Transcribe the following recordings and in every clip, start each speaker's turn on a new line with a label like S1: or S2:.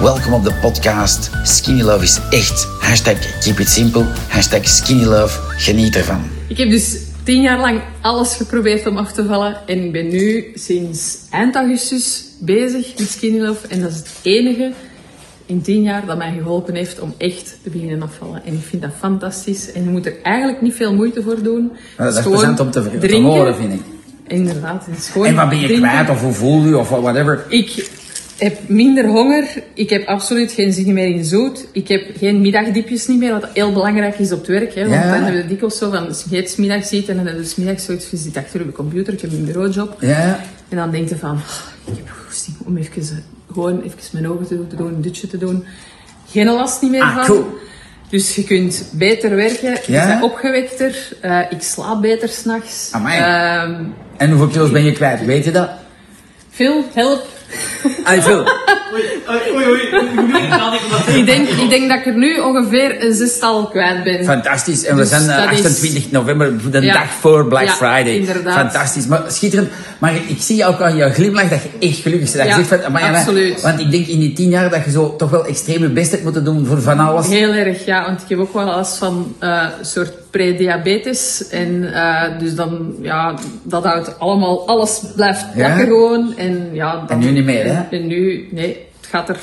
S1: Welkom op de podcast. Skinny Love is echt. Hashtag keep it simple. Hashtag skinny love. Geniet ervan.
S2: Ik heb dus tien jaar lang alles geprobeerd om af te vallen. En ik ben nu sinds eind augustus bezig met Skinny Love. En dat is het enige in tien jaar dat mij geholpen heeft om echt te beginnen afvallen. En ik vind dat fantastisch. En je moet er eigenlijk niet veel moeite voor doen.
S3: dat
S2: Het
S3: is plezant om te- te horen, vind ik.
S2: Inderdaad, het is gewoon
S3: En wat ben je
S2: drinken.
S3: kwijt of hoe voel je of whatever?
S2: Ik heb minder honger. Ik heb absoluut geen zin meer in zoet. Ik heb geen middagdiepjes niet meer, wat heel belangrijk is op het werk. Hè, want
S3: Ja.
S2: dan hebben we dikwijls zo van, dus je eet 's middags eten en dan is 's middags zoiets, je zit achter op de computer, ik heb een bureaujob.
S3: Ja,
S2: En dan denk je van, "Oh, ik heb goesting om even, eh, gewoon even mijn ogen te doen, te doen, een dutje te doen. Geen last niet meer
S3: Ah,
S2: van.
S3: cool.
S2: Dus je kunt beter werken, je
S3: Ja.
S2: bent opgewekter, eh, ik slaap beter s'nachts.
S3: Amai.
S2: Ehm
S3: en hoeveel kilo's ben je kwijt? Weet je dat?
S2: Phil, help.
S3: Ah, veel.
S4: Oei, oei, oei.
S2: Ik denk, ik denk dat ik er nu ongeveer een zestal kwijt ben.
S3: Fantastisch. En we
S2: Dus
S3: zijn eh,
S2: dat is-
S3: 28 november, de
S2: Ja.
S3: dag voor Black
S2: Ja,
S3: Friday.
S2: inderdaad.
S3: Fantastisch. Maar schitterend. Maar ik zie ook aan jouw glimlach dat je echt gelukkig bent. Dat
S2: Ja,
S3: je zegt van, amai, amai.
S2: absoluut.
S3: Want ik denk in die 10 jaar dat je zo toch wel extreem je best hebt moeten doen voor van alles.
S2: Heel erg, ja. Want ik heb ook wel last van eh, een soort prediabetes. En eh, dus dan, ja, dat houdt allemaal, alles blijft plakken
S3: Ja?
S2: gewoon. En, ja, dan-
S3: En nu niet meer, hè?
S2: En nu, nee, het gaat er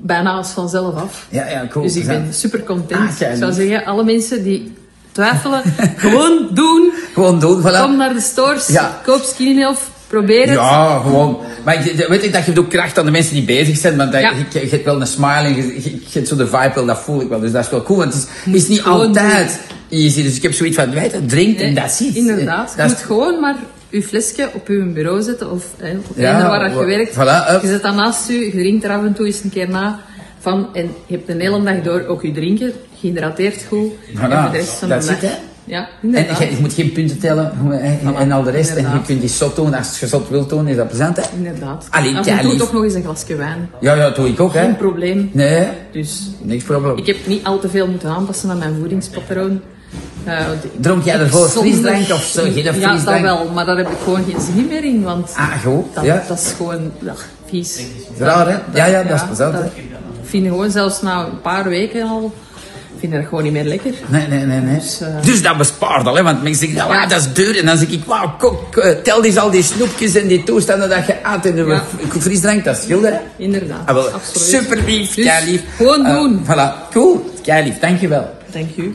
S2: bijna als vanzelf af.
S3: Ja, ja, cool.
S2: Dus ik
S3: Plezant.
S2: ben super content.
S3: Ah, jij
S2: ik zou
S3: lief.
S2: zeggen, alle mensen die twijfelen, gewoon doen.
S3: Gewoon doen, voilà.
S2: Kom naar de stores,
S3: Ja.
S2: koop Skinny of probeer het.
S3: Ja, gewoon. Maar ik- weet ik dat je ook kracht aan de mensen die bezig zijn, want dat-
S2: Ja.
S3: je, je hebt wel een smile en je, je, je hebt zo de vibe wel, dat voel ik wel. Dus dat is wel cool, want het is, is niet
S2: gewoon
S3: altijd easy. Dus ik heb zoiets van, weet je, drink en
S2: Nee,
S3: dat ziet.
S2: Inderdaad. Je
S3: Dat is-
S2: moet gewoon maar je flesje op je bureau zetten of hè, op
S3: Ja,
S2: eender waar dat je
S3: wa-
S2: werkt.
S3: voilà, up.
S2: je zet dat naast je, je drinkt er af en toe eens een keer na van en je hebt een hele dag door ook je drinken, gehydrateerd goed. en voor de rest van
S3: dat
S2: de dag.
S3: zit, hè?
S2: Ja,
S3: En
S2: inderdaad.
S3: je, je moet geen punten tellen en, en- en al de rest. En je
S2: Inderdaad.
S3: kunt die zot doen. Als je zot wilt doen, is dat plezant, hè?
S2: inderdaad.
S3: Allee,
S2: af en toe
S3: keileef.
S2: toch nog eens een glasje wijn.
S3: Ja, ja, dat doe ik ook, hè?
S2: Geen probleem.
S3: Nee,
S2: Dus
S3: niks probleem.
S2: ik heb niet al te veel moeten aanpassen aan mijn voedingspatroon. Eh, want ik-
S3: Dronk jij
S2: ik
S3: ervoor
S2: zondig-
S3: frisdrank of zo? Geen
S2: Ja, dat
S3: frisdrank?
S2: wel, maar daar heb ik gewoon geen zin meer in, want
S3: Ah, goed.
S2: Dat,
S3: ja.
S2: dat is gewoon ja, vies.
S3: Raar, hè? Ja, ja, dat is plezant,
S2: dat-
S3: hè?
S2: Ik vind gewoon zelfs na een paar weken al, ik vind dat gewoon niet meer lekker.
S3: Nee, nee, nee. nee. Dus, dat bespaart al, hè? want mensen zeggen, nou, ah, dat is duur. En dan zeg ik, wauw, kok, eh, tel eens al die snoepjes en die toestanden dat je at en de
S2: Ja.
S3: fr- frisdrank, dat scheelt, hè?
S2: Inderdaad,
S3: Ah, wel,
S2: absoluut.
S3: super lief,
S2: Dus
S3: lief. Eh,
S2: gewoon doen.
S3: Voilà, cool, kei lief, dankjewel.
S2: Thank you.